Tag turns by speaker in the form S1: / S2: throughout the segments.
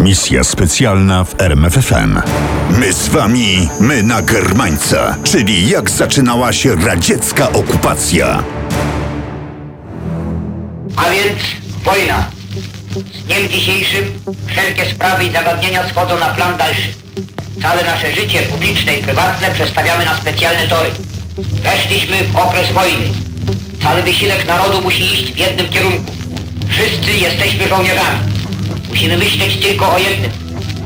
S1: Misja specjalna w RMFFM.
S2: My z wami, my na Germańca, czyli jak zaczynała się radziecka okupacja.
S3: A więc wojna. Z dniem dzisiejszym wszelkie sprawy i zagadnienia schodzą na plan dalszy. Całe nasze życie publiczne i prywatne przestawiamy na specjalne tory. Weszliśmy w okres wojny. Cały wysiłek narodu musi iść w jednym kierunku. Wszyscy jesteśmy żołnierzami. Musimy myśleć tylko o jednym.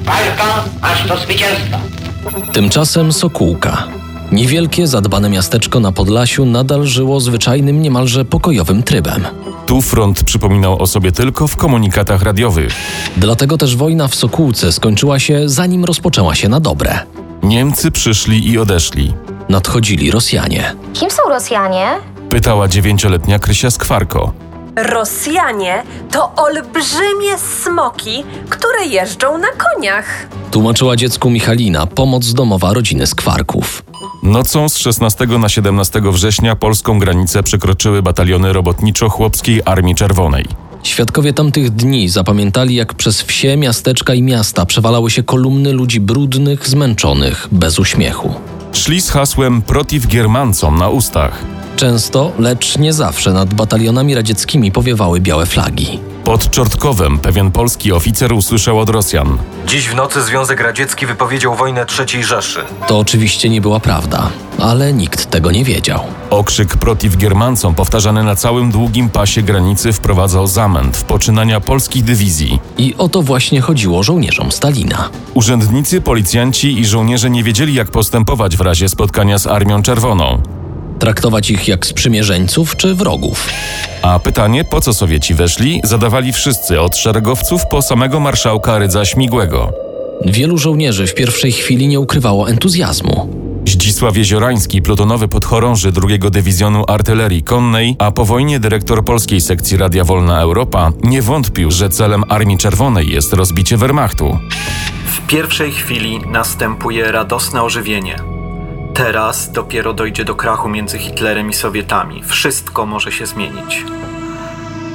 S3: Walka aż do zwycięstwa.
S4: Tymczasem Sokółka. Niewielkie, zadbane miasteczko na Podlasiu nadal żyło zwyczajnym, niemalże pokojowym trybem.
S5: Tu front przypominał o sobie tylko w komunikatach radiowych.
S4: Dlatego też wojna w Sokółce skończyła się zanim rozpoczęła się na dobre.
S5: Niemcy przyszli i odeszli.
S4: Nadchodzili Rosjanie.
S6: Kim są Rosjanie?
S5: Pytała dziewięcioletnia Krysia Skwarko.
S7: Rosjanie to olbrzymie smoki, które jeżdżą na koniach.
S4: Tłumaczyła dziecku Michalina, pomoc domowa rodziny Skwarków.
S5: Nocą z 16 na 17 września polską granicę przekroczyły bataliony robotniczo-chłopskiej Armii Czerwonej.
S4: Świadkowie tamtych dni zapamiętali, jak przez wsie, miasteczka i miasta przewalały się kolumny ludzi brudnych, zmęczonych, bez uśmiechu.
S5: Szli z hasłem Protiv Giermancom na ustach.
S4: Często, lecz nie zawsze, nad batalionami radzieckimi powiewały białe flagi.
S5: Pod Czortkowem pewien polski oficer usłyszał od Rosjan.
S8: Dziś w nocy Związek Radziecki wypowiedział wojnę III Rzeszy.
S4: To oczywiście nie była prawda, ale nikt tego nie wiedział.
S5: Okrzyk Protiv Giermancom powtarzany na całym długim pasie granicy wprowadzał zamęt w poczynania polskich dywizji.
S4: I o to właśnie chodziło żołnierzom Stalina.
S5: Urzędnicy, policjanci i żołnierze nie wiedzieli, jak postępować w razie spotkania z Armią Czerwoną.
S4: Traktować ich jak sprzymierzeńców czy wrogów.
S5: A pytanie, po co Sowieci weszli, zadawali wszyscy, od szeregowców po samego marszałka Rydza Śmigłego.
S4: Wielu żołnierzy w pierwszej chwili nie ukrywało entuzjazmu.
S5: Zdzisław Jeziorański, plutonowy podchorąży II Dywizjonu Artylerii Konnej, a po wojnie dyrektor polskiej sekcji Radia Wolna Europa, nie wątpił, że celem Armii Czerwonej jest rozbicie Wehrmachtu.
S9: W pierwszej chwili następuje radosne ożywienie. Teraz dopiero dojdzie do krachu między Hitlerem i Sowietami. Wszystko może się zmienić.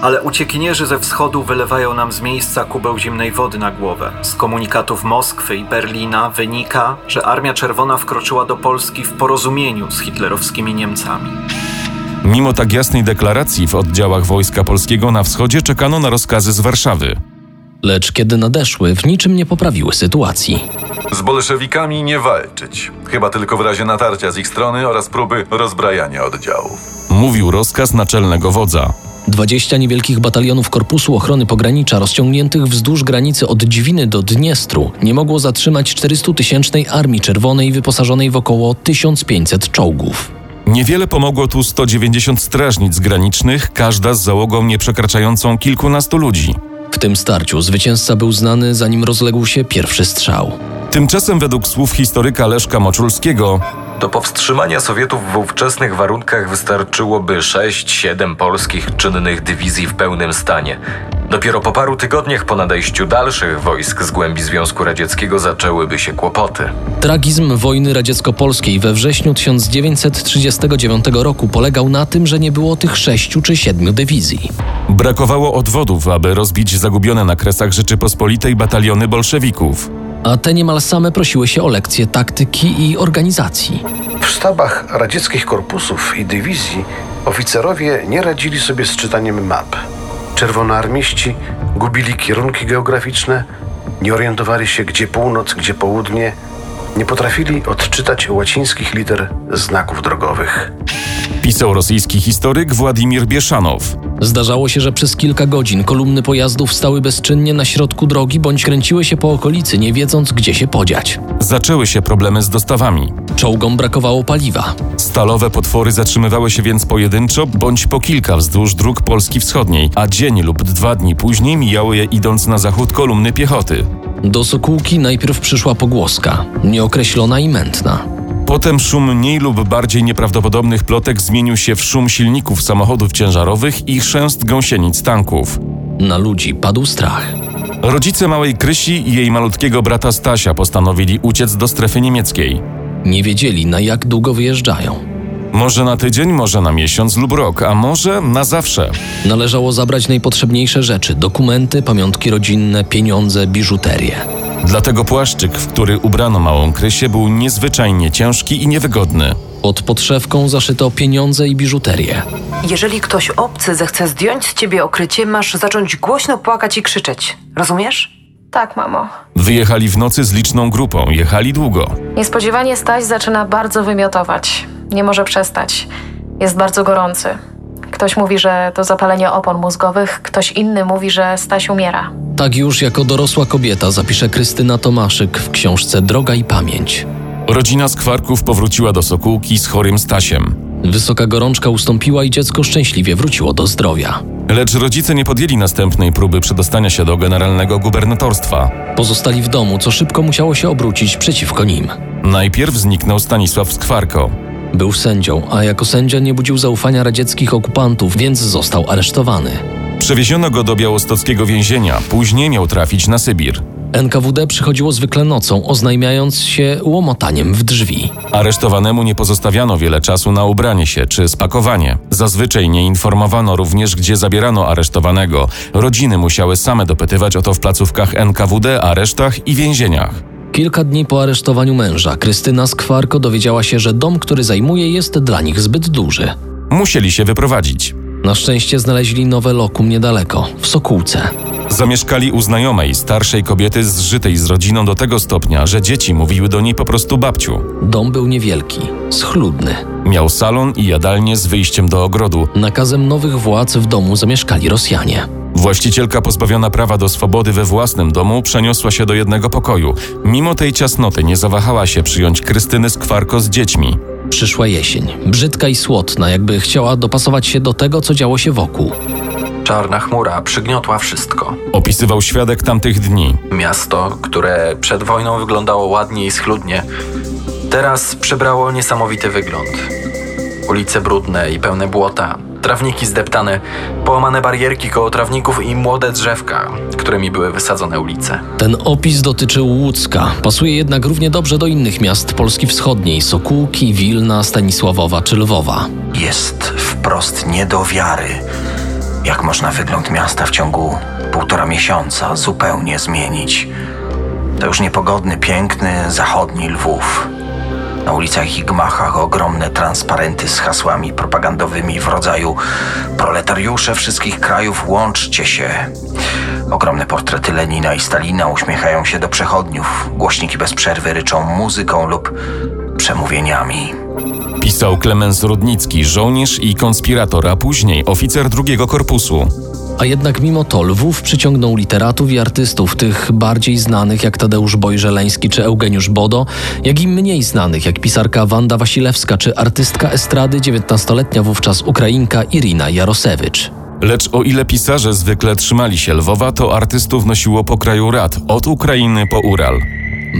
S9: Ale uciekinierzy ze wschodu wylewają nam z miejsca kubeł zimnej wody na głowę. Z komunikatów Moskwy i Berlina wynika, że Armia Czerwona wkroczyła do Polski w porozumieniu z hitlerowskimi Niemcami.
S5: Mimo tak jasnej deklaracji w oddziałach Wojska Polskiego na wschodzie czekano na rozkazy z Warszawy.
S4: Lecz kiedy nadeszły, w niczym nie poprawiły sytuacji.
S10: Z bolszewikami nie walczyć, chyba tylko w razie natarcia z ich strony oraz próby rozbrajania oddziałów.
S5: Mówił rozkaz naczelnego wodza.
S4: 20 niewielkich batalionów Korpusu Ochrony Pogranicza rozciągniętych wzdłuż granicy od Dźwiny do Dniestru nie mogło zatrzymać 400-tysięcznej Armii Czerwonej wyposażonej w około 1500 czołgów.
S5: Niewiele pomogło tu 190 strażnic granicznych, każda z załogą nieprzekraczającą kilkunastu ludzi.
S4: W tym starciu zwycięzca był znany zanim rozległ się pierwszy strzał.
S5: Tymczasem według słów historyka Leszka Moczulskiego
S8: Do powstrzymania Sowietów w ówczesnych warunkach wystarczyłoby 6-7 polskich czynnych dywizji w pełnym stanie. Dopiero po paru tygodniach po nadejściu dalszych wojsk z głębi Związku Radzieckiego zaczęłyby się kłopoty.
S4: Tragizm wojny radziecko-polskiej we wrześniu 1939 roku polegał na tym, że nie było tych sześciu czy siedmiu dywizji.
S5: brakowało odwodów, aby rozbić zagubione na kresach Rzeczypospolitej bataliony bolszewików.
S4: a te niemal same prosiły się o lekcje taktyki i organizacji.
S11: W sztabach radzieckich korpusów i dywizji oficerowie nie radzili sobie z czytaniem map. Czerwonoarmiści gubili kierunki geograficzne, nie orientowali się gdzie północ, gdzie południe, nie potrafili odczytać łacińskich liter znaków drogowych.
S5: Pisał rosyjski historyk Władimir Bieszanow.
S4: Zdarzało się, że przez kilka godzin kolumny pojazdów stały bezczynnie na środku drogi bądź kręciły się po okolicy, nie wiedząc gdzie się podziać.
S5: Zaczęły się problemy z dostawami.
S4: Czołgom brakowało paliwa.
S5: Stalowe potwory zatrzymywały się więc pojedynczo bądź po kilka wzdłuż dróg Polski Wschodniej, a dzień lub dwa dni później mijały je idąc na zachód kolumny piechoty.
S4: Do Sokółki najpierw przyszła pogłoska, nieokreślona i mętna.
S5: Potem szum mniej lub bardziej nieprawdopodobnych plotek zmienił się w szum silników samochodów ciężarowych i chrzęst gąsienic tanków.
S4: Na ludzi padł strach.
S5: Rodzice małej Krysi i jej malutkiego brata Stasia postanowili uciec do strefy niemieckiej.
S4: Nie wiedzieli, na jak długo wyjeżdżają.
S5: Może na tydzień, może na miesiąc lub rok, a może na zawsze.
S4: Należało zabrać najpotrzebniejsze rzeczy: dokumenty, pamiątki rodzinne, pieniądze, biżuterię.
S5: Dlatego płaszczyk, w który ubrano małą Krysię, był niezwyczajnie ciężki i niewygodny.
S4: Pod podszewką zaszyto pieniądze i biżuterię.
S6: Jeżeli ktoś obcy zechce zdjąć z ciebie okrycie, masz zacząć głośno płakać i krzyczeć. Rozumiesz?
S12: Tak, mamo.
S5: Wyjechali w nocy z liczną grupą, jechali długo.
S12: Niespodziewanie Staś zaczyna bardzo wymiotować. Nie może przestać. Jest bardzo gorący. Ktoś mówi, że to zapalenie opon mózgowych, ktoś inny mówi, że Staś umiera.
S4: Tak już jako dorosła kobieta zapisze Krystyna Tomaszyk w książce Droga i Pamięć.
S5: Rodzina z Kwarków powróciła do Sokółki z chorym Stasiem.
S4: Wysoka gorączka ustąpiła i dziecko szczęśliwie wróciło do zdrowia.
S5: Lecz rodzice nie podjęli następnej próby przedostania się do generalnego gubernatorstwa.
S4: Pozostali w domu, co szybko musiało się obrócić przeciwko nim.
S5: Najpierw zniknął Stanisław Skwarko.
S4: Był sędzią, a jako sędzia nie budził zaufania radzieckich okupantów, więc został aresztowany.
S5: Przewieziono go do białostockiego więzienia, później miał trafić na Sybir.
S4: NKWD przychodziło zwykle nocą, oznajmiając się łomotaniem w drzwi.
S5: Aresztowanemu nie pozostawiano wiele czasu na ubranie się czy spakowanie. Zazwyczaj nie informowano również, gdzie zabierano aresztowanego. Rodziny musiały same dopytywać o to w placówkach NKWD, aresztach i więzieniach.
S4: Kilka dni po aresztowaniu męża, Krystyna Skwarko dowiedziała się, że dom, który zajmuje, jest dla nich zbyt duży.
S5: Musieli się wyprowadzić.
S4: Na szczęście znaleźli nowe lokum niedaleko, w Sokółce.
S5: Zamieszkali u znajomej, starszej kobiety zżytej z rodziną do tego stopnia, że dzieci mówiły do niej po prostu babciu.
S4: Dom był niewielki, schludny.
S5: Miał salon i jadalnię z wyjściem do ogrodu.
S4: Nakazem nowych władz w domu zamieszkali Rosjanie.
S5: Właścicielka pozbawiona prawa do swobody we własnym domu przeniosła się do jednego pokoju. Mimo tej ciasnoty nie zawahała się przyjąć Krystyny Skwarko z dziećmi.
S4: Przyszła jesień, brzydka i słodna, jakby chciała dopasować się do tego, co działo się wokół.
S8: Czarna chmura przygniotła wszystko.
S5: Opisywał świadek tamtych dni.
S8: Miasto, które przed wojną wyglądało ładnie i schludnie, teraz przybrało niesamowity wygląd. Ulice brudne i pełne błota, trawniki zdeptane, połamane barierki koło trawników i młode drzewka, którymi były wysadzone ulice.
S4: Ten opis dotyczył Łódzka, pasuje jednak równie dobrze do innych miast Polski Wschodniej Sokółki, Wilna, Stanisławowa czy Lwowa.
S13: Jest wprost nie do wiary, jak można wygląd miasta w ciągu półtora miesiąca zupełnie zmienić. To już niepogodny, piękny, zachodni Lwów. Na ulicach i gmachach ogromne transparenty z hasłami propagandowymi w rodzaju proletariusze wszystkich krajów, łączcie się. Ogromne portrety Lenina i Stalina uśmiechają się do przechodniów. Głośniki bez przerwy ryczą muzyką lub przemówieniami.
S5: Pisał Klemens Rudnicki, żołnierz i konspirator, a później oficer drugiego korpusu.
S4: A jednak mimo to Lwów przyciągnął literatów i artystów, tych bardziej znanych jak Tadeusz Bojżeleński czy Eugeniusz Bodo, jak i mniej znanych jak pisarka Wanda Wasilewska czy artystka estrady 19-letnia wówczas Ukrainka Irina Jarosewicz.
S5: Lecz o ile pisarze zwykle trzymali się Lwowa, to artystów nosiło po kraju rad, od Ukrainy po Ural.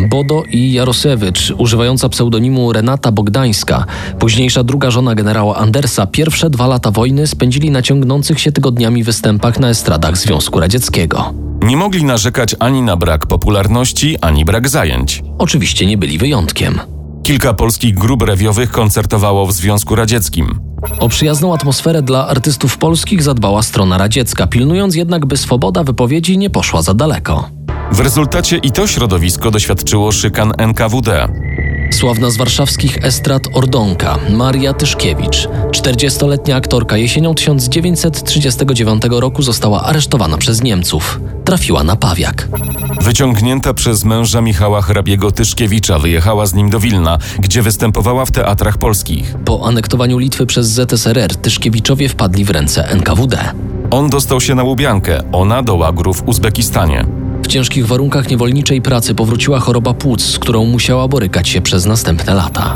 S4: Bodo i Jarosewicz, używająca pseudonimu Renata Bogdańska, późniejsza druga żona generała Andersa, pierwsze dwa lata wojny spędzili na ciągnących się tygodniami występach na estradach Związku Radzieckiego.
S5: Nie mogli narzekać ani na brak popularności, ani brak zajęć.
S4: Oczywiście nie byli wyjątkiem.
S5: Kilka polskich grup rewiowych koncertowało w Związku Radzieckim.
S4: O przyjazną atmosferę dla artystów polskich zadbała strona radziecka, pilnując jednak, by swoboda wypowiedzi nie poszła za daleko.
S5: W rezultacie i to środowisko doświadczyło szykan NKWD.
S4: Sławna z warszawskich estrad Ordonka, Maria Tyszkiewicz, 40-letnia aktorka, jesienią 1939 roku została aresztowana przez Niemców. Trafiła na pawiak.
S5: Wyciągnięta przez męża Michała Hrabiego Tyszkiewicza, wyjechała z nim do Wilna, gdzie występowała w teatrach polskich.
S4: Po anektowaniu Litwy przez ZSRR Tyszkiewiczowie wpadli w ręce NKWD.
S5: On dostał się na Łubiankę, ona do łagru w Uzbekistanie.
S4: W ciężkich warunkach niewolniczej pracy powróciła choroba płuc, z którą musiała borykać się przez następne lata.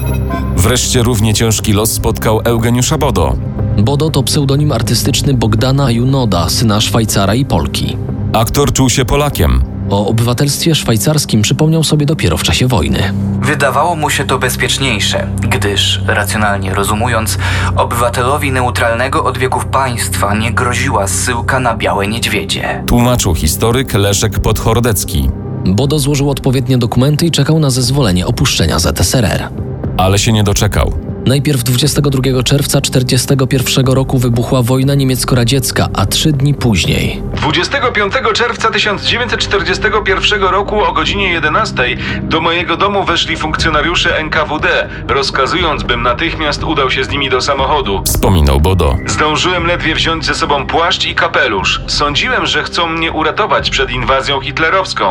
S5: Wreszcie równie ciężki los spotkał Eugeniusza Bodo.
S4: Bodo to pseudonim artystyczny Bogdana Junoda, syna Szwajcara i Polki.
S5: Aktor czuł się Polakiem.
S4: O obywatelstwie szwajcarskim przypomniał sobie dopiero w czasie wojny.
S14: Wydawało mu się to bezpieczniejsze, gdyż, racjonalnie rozumując, obywatelowi neutralnego od wieków państwa nie groziła zsyłka na białe niedźwiedzie.
S5: Tłumaczył historyk Leszek Podchordecki.
S4: Bodo złożył odpowiednie dokumenty i czekał na zezwolenie opuszczenia ZSRR.
S5: Ale się nie doczekał.
S4: Najpierw 22 czerwca 1941 roku wybuchła wojna niemiecko-radziecka, a trzy dni później
S15: 25 czerwca 1941 roku o godzinie 11 do mojego domu weszli funkcjonariusze NKWD, rozkazując, bym natychmiast udał się z nimi do samochodu.
S5: Wspominał Bodo.
S15: Zdążyłem ledwie wziąć ze sobą płaszcz i kapelusz. Sądziłem, że chcą mnie uratować przed inwazją hitlerowską.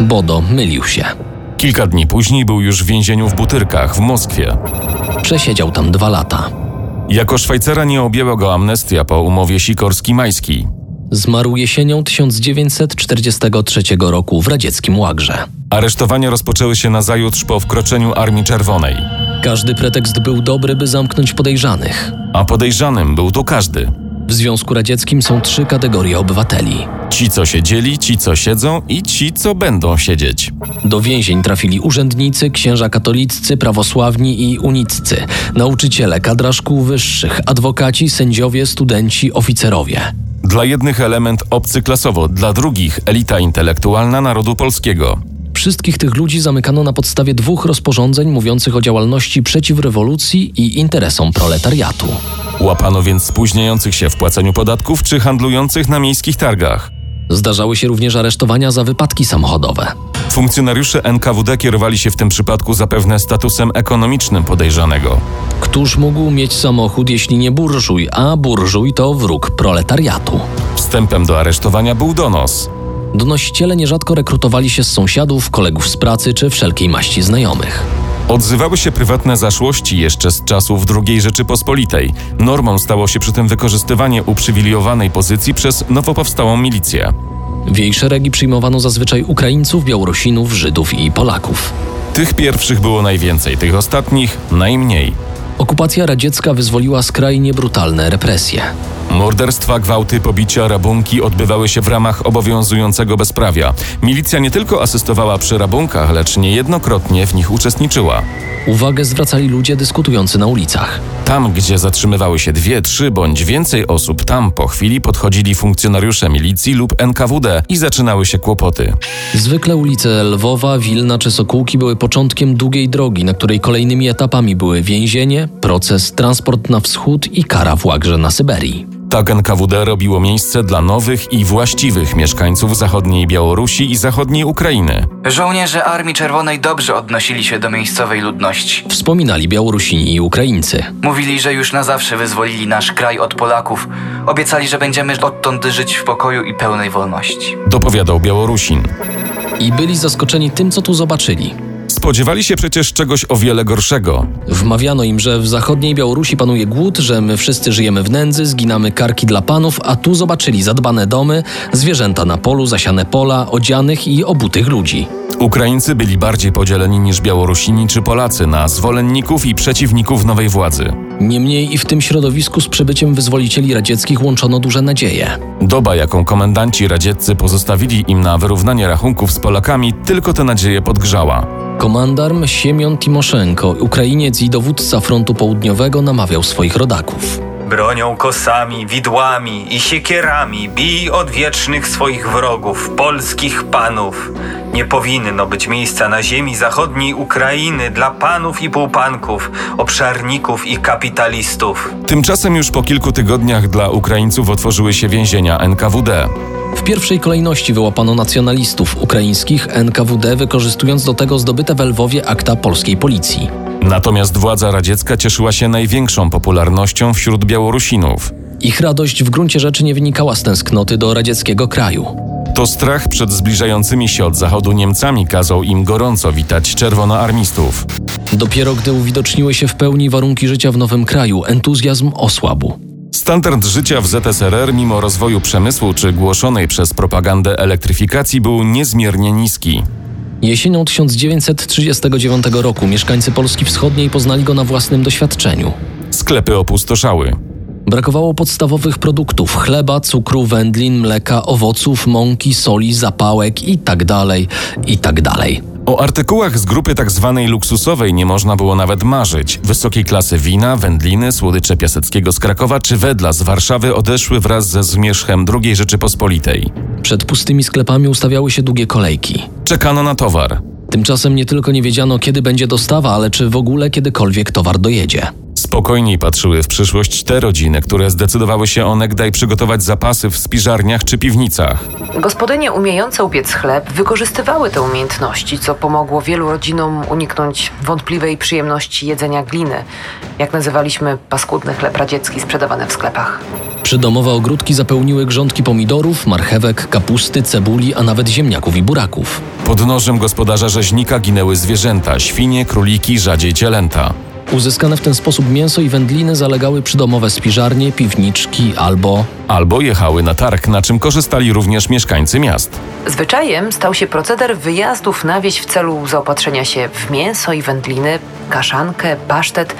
S4: Bodo mylił się.
S5: Kilka dni później był już w więzieniu w Butyrkach w Moskwie.
S4: Przesiedział tam dwa lata.
S5: Jako Szwajcara nie objęła go amnestia po umowie Sikorski-Majskiej.
S4: Zmarł jesienią 1943 roku w radzieckim łagrze.
S5: Aresztowania rozpoczęły się nazajutrz po wkroczeniu Armii Czerwonej.
S4: Każdy pretekst był dobry, by zamknąć podejrzanych.
S5: A podejrzanym był tu każdy.
S4: W Związku Radzieckim są trzy kategorie obywateli.
S5: Ci, co siedzieli, ci, co siedzą i ci, co będą siedzieć.
S4: Do więzień trafili urzędnicy, księża katoliccy, prawosławni i uniccy, nauczyciele, kadra szkół wyższych, adwokaci, sędziowie, studenci, oficerowie.
S5: Dla jednych element obcy klasowo, dla drugich elita intelektualna narodu polskiego.
S4: Wszystkich tych ludzi zamykano na podstawie dwóch rozporządzeń mówiących o działalności przeciw rewolucji i interesom proletariatu.
S5: Łapano więc spóźniających się w płaceniu podatków czy handlujących na miejskich targach.
S4: Zdarzały się również aresztowania za wypadki samochodowe.
S5: Funkcjonariusze NKWD kierowali się w tym przypadku zapewne statusem ekonomicznym podejrzanego.
S4: Któż mógł mieć samochód, jeśli nie burżuj, a burżuj to wróg proletariatu?
S5: Wstępem do aresztowania był donos.
S4: Donosiciele nierzadko rekrutowali się z sąsiadów, kolegów z pracy czy wszelkiej maści znajomych.
S5: Odzywały się prywatne zaszłości jeszcze z czasów II Rzeczypospolitej. Normą stało się przy tym wykorzystywanie uprzywilejowanej pozycji przez nowo powstałą milicję.
S4: W jej szeregi przyjmowano zazwyczaj Ukraińców, Białorusinów, Żydów i Polaków.
S5: Tych pierwszych było najwięcej, tych ostatnich najmniej.
S4: Okupacja radziecka wyzwoliła skrajnie brutalne represje.
S5: Morderstwa, gwałty, pobicia, rabunki odbywały się w ramach obowiązującego bezprawia. Milicja nie tylko asystowała przy rabunkach, lecz niejednokrotnie w nich uczestniczyła.
S4: Uwagę zwracali ludzie dyskutujący na ulicach.
S5: Tam, gdzie zatrzymywały się dwie, trzy bądź więcej osób, tam po chwili podchodzili funkcjonariusze milicji lub NKWD i zaczynały się kłopoty.
S4: Zwykle ulice Lwowa, Wilna czy Sokółki były początkiem długiej drogi, na której kolejnymi etapami były więzienie, proces, transport na wschód i kara w łagrze na Syberii.
S5: Tak NKWD robiło miejsce dla nowych i właściwych mieszkańców zachodniej Białorusi i zachodniej Ukrainy.
S14: Żołnierze Armii Czerwonej dobrze odnosili się do miejscowej ludności.
S4: Wspominali Białorusini i Ukraińcy.
S14: Mówili, że już na zawsze wyzwolili nasz kraj od Polaków. Obiecali, że będziemy odtąd żyć w pokoju i pełnej wolności.
S5: Dopowiadał Białorusin.
S4: I byli zaskoczeni tym, co tu zobaczyli.
S5: Spodziewali się przecież czegoś o wiele gorszego.
S4: Wmawiano im, że w zachodniej Białorusi panuje głód, że my wszyscy żyjemy w nędzy, zginamy karki dla panów, a tu zobaczyli zadbane domy, zwierzęta na polu, zasiane pola, odzianych i obutych ludzi.
S5: Ukraińcy byli bardziej podzieleni niż Białorusini czy Polacy na zwolenników i przeciwników nowej władzy.
S4: Niemniej i w tym środowisku z przybyciem wyzwolicieli radzieckich łączono duże nadzieje.
S5: Doba, jaką komendanci radzieccy pozostawili im na wyrównanie rachunków z Polakami, tylko te nadzieje podgrzała.
S4: Komandarm Siemion Timoszenko, Ukrainiec i dowódca frontu południowego, namawiał swoich rodaków.
S16: Bronią kosami, widłami i siekierami bij odwiecznych swoich wrogów, polskich panów. Nie powinno być miejsca na ziemi zachodniej Ukrainy dla panów i półpanków, obszarników i kapitalistów.
S5: Tymczasem już po kilku tygodniach dla Ukraińców otworzyły się więzienia NKWD.
S4: W pierwszej kolejności wyłapano nacjonalistów ukraińskich NKWD, wykorzystując do tego zdobyte w Lwowie akta polskiej policji.
S5: Natomiast władza radziecka cieszyła się największą popularnością wśród Białorusinów.
S4: Ich radość w gruncie rzeczy nie wynikała z tęsknoty do radzieckiego kraju.
S5: To strach przed zbliżającymi się od zachodu Niemcami kazał im gorąco witać czerwonoarmistów.
S4: Dopiero gdy uwidoczniły się w pełni warunki życia w nowym kraju, entuzjazm osłabł.
S5: Standard życia w ZSRR, mimo rozwoju przemysłu czy głoszonej przez propagandę elektryfikacji, był niezmiernie niski.
S4: Jesienią 1939 roku mieszkańcy Polski Wschodniej poznali go na własnym doświadczeniu.
S5: Sklepy opustoszały.
S4: Brakowało podstawowych produktów chleba, cukru, wędlin, mleka, owoców, mąki, soli, zapałek tak itd. itd.
S5: O artykułach z grupy tzw. luksusowej nie można było nawet marzyć. Wysokiej klasy wina, wędliny, słodycze Piaseckiego z Krakowa czy wedla z Warszawy odeszły wraz ze zmierzchem II Rzeczypospolitej.
S4: Przed pustymi sklepami ustawiały się długie kolejki.
S5: Czekano na towar.
S4: Tymczasem nie tylko nie wiedziano, kiedy będzie dostawa, ale czy w ogóle kiedykolwiek towar dojedzie.
S5: Spokojniej patrzyły w przyszłość te rodziny, które zdecydowały się onegdaj przygotować zapasy w spiżarniach czy piwnicach.
S6: Gospodynie umiejące upiec chleb wykorzystywały te umiejętności, co pomogło wielu rodzinom uniknąć wątpliwej przyjemności jedzenia gliny, jak nazywaliśmy paskudny chleb radziecki sprzedawany w sklepach.
S4: Przydomowe ogródki zapełniły grządki pomidorów, marchewek, kapusty, cebuli, a nawet ziemniaków i buraków.
S5: Pod nożem gospodarza rzeźnika ginęły zwierzęta, świnie, króliki, rzadziej cielęta.
S4: Uzyskane w ten sposób mięso i wędliny zalegały przydomowe spiżarnie, piwniczki albo...
S5: Albo jechały na targ, na czym korzystali również mieszkańcy miast.
S6: Zwyczajem stał się proceder wyjazdów na wieś w celu zaopatrzenia się w mięso i wędliny, kaszankę, pasztet,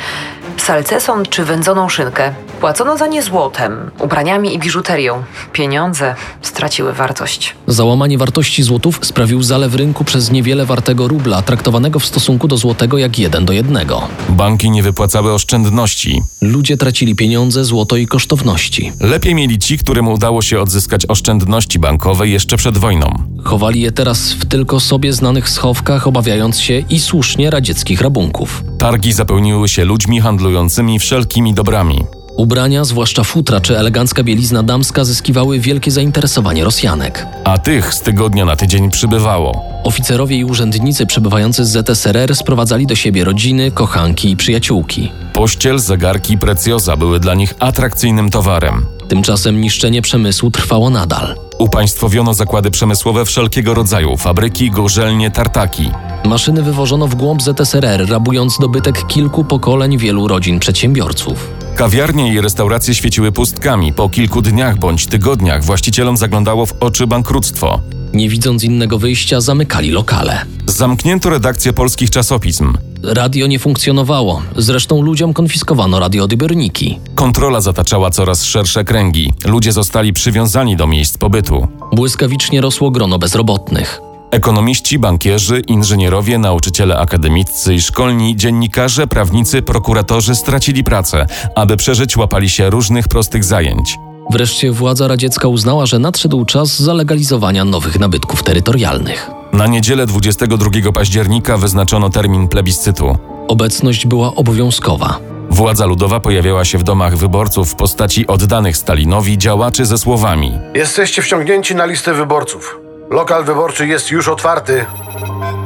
S6: salceson czy wędzoną szynkę. Płacono za nie złotem, ubraniami i biżuterią. Pieniądze straciły wartość.
S4: Załamanie wartości złotów sprawił zalew rynku przez niewiele wartego rubla, traktowanego w stosunku do złotego jak jeden do jednego.
S5: Banki nie wypłacały oszczędności.
S4: Ludzie tracili pieniądze, złoto i kosztowności.
S5: Lepiej mieli ci, którym udało się odzyskać oszczędności bankowe jeszcze przed wojną.
S4: Chowali je teraz w tylko sobie znanych schowkach, obawiając się i słusznie radzieckich rabunków.
S5: Targi zapełniły się ludźmi handlującymi wszelkimi dobrami.
S4: Ubrania, zwłaszcza futra czy elegancka bielizna damska, zyskiwały wielkie zainteresowanie Rosjanek.
S5: A tych z tygodnia na tydzień przybywało.
S4: Oficerowie i urzędnicy przebywający z ZSRR sprowadzali do siebie rodziny, kochanki i przyjaciółki.
S5: Pościel, zegarki i precjoza były dla nich atrakcyjnym towarem.
S4: Tymczasem niszczenie przemysłu trwało nadal.
S5: Upaństwowiono zakłady przemysłowe wszelkiego rodzaju, fabryki, gorzelnie, tartaki.
S4: Maszyny wywożono w głąb ZSRR, rabując dobytek kilku pokoleń wielu rodzin przedsiębiorców.
S5: Kawiarnie i restauracje świeciły pustkami. Po kilku dniach bądź tygodniach właścicielom zaglądało w oczy bankructwo.
S4: Nie widząc innego wyjścia, zamykali lokale.
S5: Zamknięto redakcję polskich czasopism.
S4: Radio nie funkcjonowało, zresztą ludziom konfiskowano radioodbiorniki.
S5: Kontrola zataczała coraz szersze kręgi. Ludzie zostali przywiązani do miejsc pobytu.
S4: Błyskawicznie rosło grono bezrobotnych.
S5: Ekonomiści, bankierzy, inżynierowie, nauczyciele akademiccy i szkolni, dziennikarze, prawnicy, prokuratorzy stracili pracę. Aby przeżyć, łapali się różnych prostych zajęć.
S4: Wreszcie władza radziecka uznała, że nadszedł czas zalegalizowania nowych nabytków terytorialnych.
S5: Na niedzielę 22 października wyznaczono termin plebiscytu.
S4: Obecność była obowiązkowa.
S5: Władza ludowa pojawiała się w domach wyborców w postaci oddanych Stalinowi działaczy ze słowami:
S11: Jesteście wciągnięci na listę wyborców. Lokal wyborczy jest już otwarty.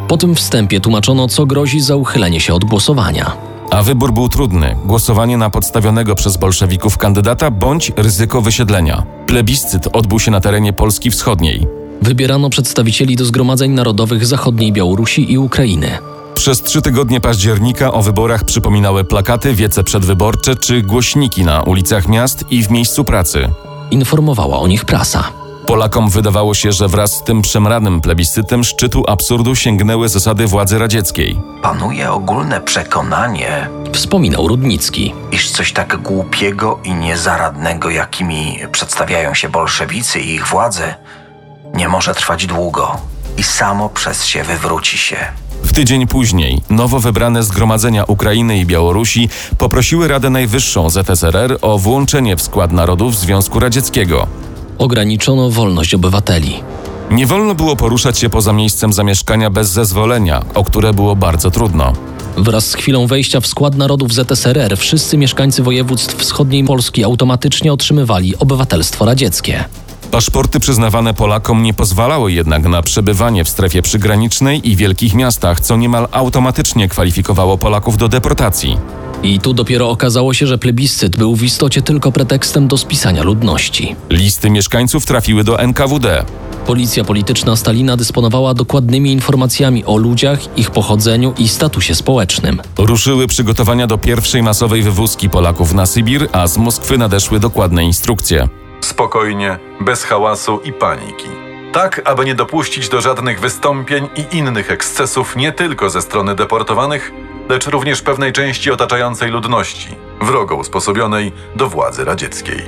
S4: Po tym wstępie tłumaczono, co grozi za uchylenie się od głosowania.
S5: A wybór był trudny: głosowanie na podstawionego przez bolszewików kandydata bądź ryzyko wysiedlenia. Plebiscyt odbył się na terenie Polski Wschodniej.
S4: Wybierano przedstawicieli do zgromadzeń narodowych zachodniej Białorusi i Ukrainy.
S5: Przez trzy tygodnie października o wyborach przypominały plakaty, wiece przedwyborcze czy głośniki na ulicach miast i w miejscu pracy.
S4: Informowała o nich prasa.
S5: Polakom wydawało się, że wraz z tym przemranym plebiscytem szczytu absurdu sięgnęły zasady władzy radzieckiej.
S13: Panuje ogólne przekonanie,
S4: wspominał Rudnicki,
S13: iż coś tak głupiego i niezaradnego, jakimi przedstawiają się bolszewicy i ich władze, nie może trwać długo i samo przez się wywróci się.
S5: W tydzień później nowo wybrane zgromadzenia Ukrainy i Białorusi poprosiły Radę Najwyższą ZSRR o włączenie w skład narodów Związku Radzieckiego.
S4: Ograniczono wolność obywateli.
S5: Nie wolno było poruszać się poza miejscem zamieszkania bez zezwolenia, o które było bardzo trudno.
S4: Wraz z chwilą wejścia w skład narodów ZSRR wszyscy mieszkańcy województw wschodniej Polski automatycznie otrzymywali obywatelstwo radzieckie.
S5: Paszporty przyznawane Polakom nie pozwalały jednak na przebywanie w strefie przygranicznej i wielkich miastach, co niemal automatycznie kwalifikowało Polaków do deportacji.
S4: I tu dopiero okazało się, że plebiscyt był w istocie tylko pretekstem do spisania ludności.
S5: Listy mieszkańców trafiły do NKWD.
S4: Policja polityczna Stalina dysponowała dokładnymi informacjami o ludziach, ich pochodzeniu i statusie społecznym.
S5: Ruszyły przygotowania do pierwszej masowej wywózki Polaków na Sybir, a z Moskwy nadeszły dokładne instrukcje.
S10: Spokojnie, bez hałasu i paniki. Tak, aby nie dopuścić do żadnych wystąpień i innych ekscesów nie tylko ze strony deportowanych, lecz również pewnej części otaczającej ludności, wrogo usposobionej do władzy radzieckiej.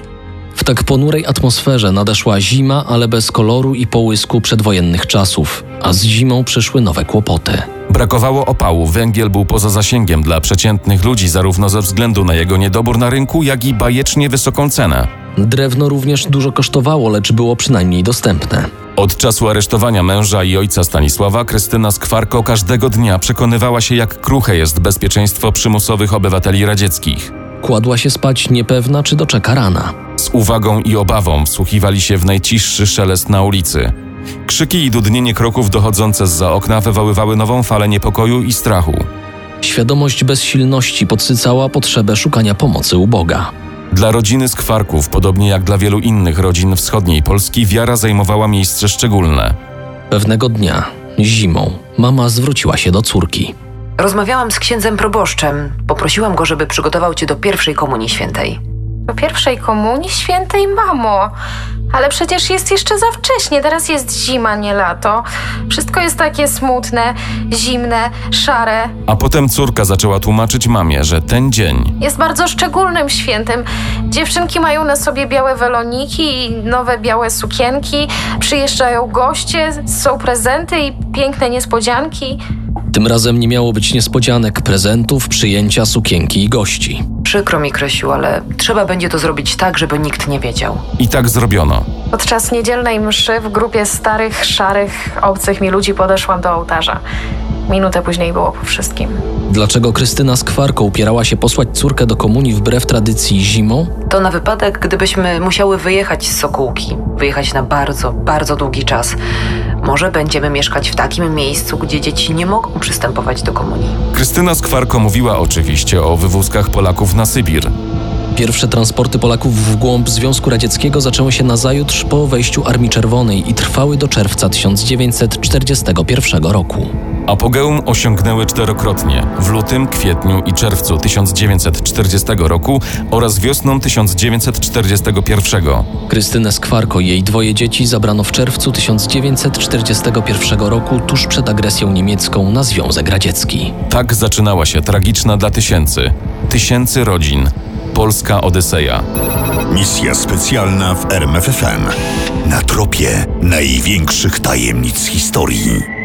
S4: W tak ponurej atmosferze nadeszła zima, ale bez koloru i połysku przedwojennych czasów, a z zimą przyszły nowe kłopoty.
S5: Brakowało opału, węgiel był poza zasięgiem dla przeciętnych ludzi zarówno ze względu na jego niedobór na rynku, jak i bajecznie wysoką cenę.
S4: Drewno również dużo kosztowało, lecz było przynajmniej dostępne.
S5: Od czasu aresztowania męża i ojca Stanisława Krystyna Skwarko każdego dnia przekonywała się, jak kruche jest bezpieczeństwo przymusowych obywateli radzieckich.
S4: Kładła się spać niepewna, czy doczeka rana.
S5: Z uwagą i obawą wsłuchiwali się w najciszszy szelest na ulicy. Krzyki i dudnienie kroków dochodzące zza okna wywoływały nową falę niepokoju i strachu.
S4: Świadomość bezsilności podsycała potrzebę szukania pomocy u Boga.
S5: Dla rodziny Skwarków, podobnie jak dla wielu innych rodzin wschodniej Polski, wiara zajmowała miejsce szczególne.
S4: Pewnego dnia, zimą, mama zwróciła się do córki.
S6: Rozmawiałam z księdzem proboszczem. Poprosiłam go, żeby przygotował cię do pierwszej komunii świętej.
S12: Do pierwszej komunii świętej, mamo. Ale przecież jest jeszcze za wcześnie, teraz jest zima, nie lato. Wszystko jest takie smutne, zimne, szare.
S5: A potem córka zaczęła tłumaczyć mamie, że ten dzień
S12: Jest bardzo szczególnym świętem. Dziewczynki mają na sobie białe weloniki i nowe białe sukienki. Przyjeżdżają goście, są prezenty i piękne niespodzianki.
S4: Tym razem nie miało być niespodzianek, prezentów, przyjęcia, sukienki i gości.
S6: Przykro mi, Krysiu, ale trzeba będzie to zrobić tak, żeby nikt nie wiedział.
S5: i tak zrobiono.
S12: Podczas niedzielnej mszy w grupie starych, szarych, obcych mi ludzi podeszłam do ołtarza. Minutę później było po wszystkim.
S4: Dlaczego Krystyna Skwarko upierała się posłać córkę do komunii wbrew tradycji zimą?
S6: To na wypadek, gdybyśmy musiały wyjechać z Sokółki. Wyjechać na bardzo, bardzo długi czas. Może będziemy mieszkać w takim miejscu, gdzie dzieci nie mogą przystępować do komunii.
S5: Krystyna Skwarko mówiła oczywiście o wywózkach Polaków na Sybir.
S4: Pierwsze transporty Polaków w głąb Związku Radzieckiego zaczęły się nazajutrz po wejściu Armii Czerwonej i trwały do czerwca 1941 roku.
S5: Apogeum osiągnęły czterokrotnie w lutym, kwietniu i czerwcu 1940 roku oraz wiosną 1941.
S4: Krystynę Skwarko i jej dwoje dzieci zabrano w czerwcu 1941 roku tuż przed agresją niemiecką na Związek Radziecki.
S5: Tak zaczynała się tragiczna dla tysięcy, tysięcy rodzin, polska Odyseja.
S2: Misja specjalna w RMFFM. Na tropie największych tajemnic historii.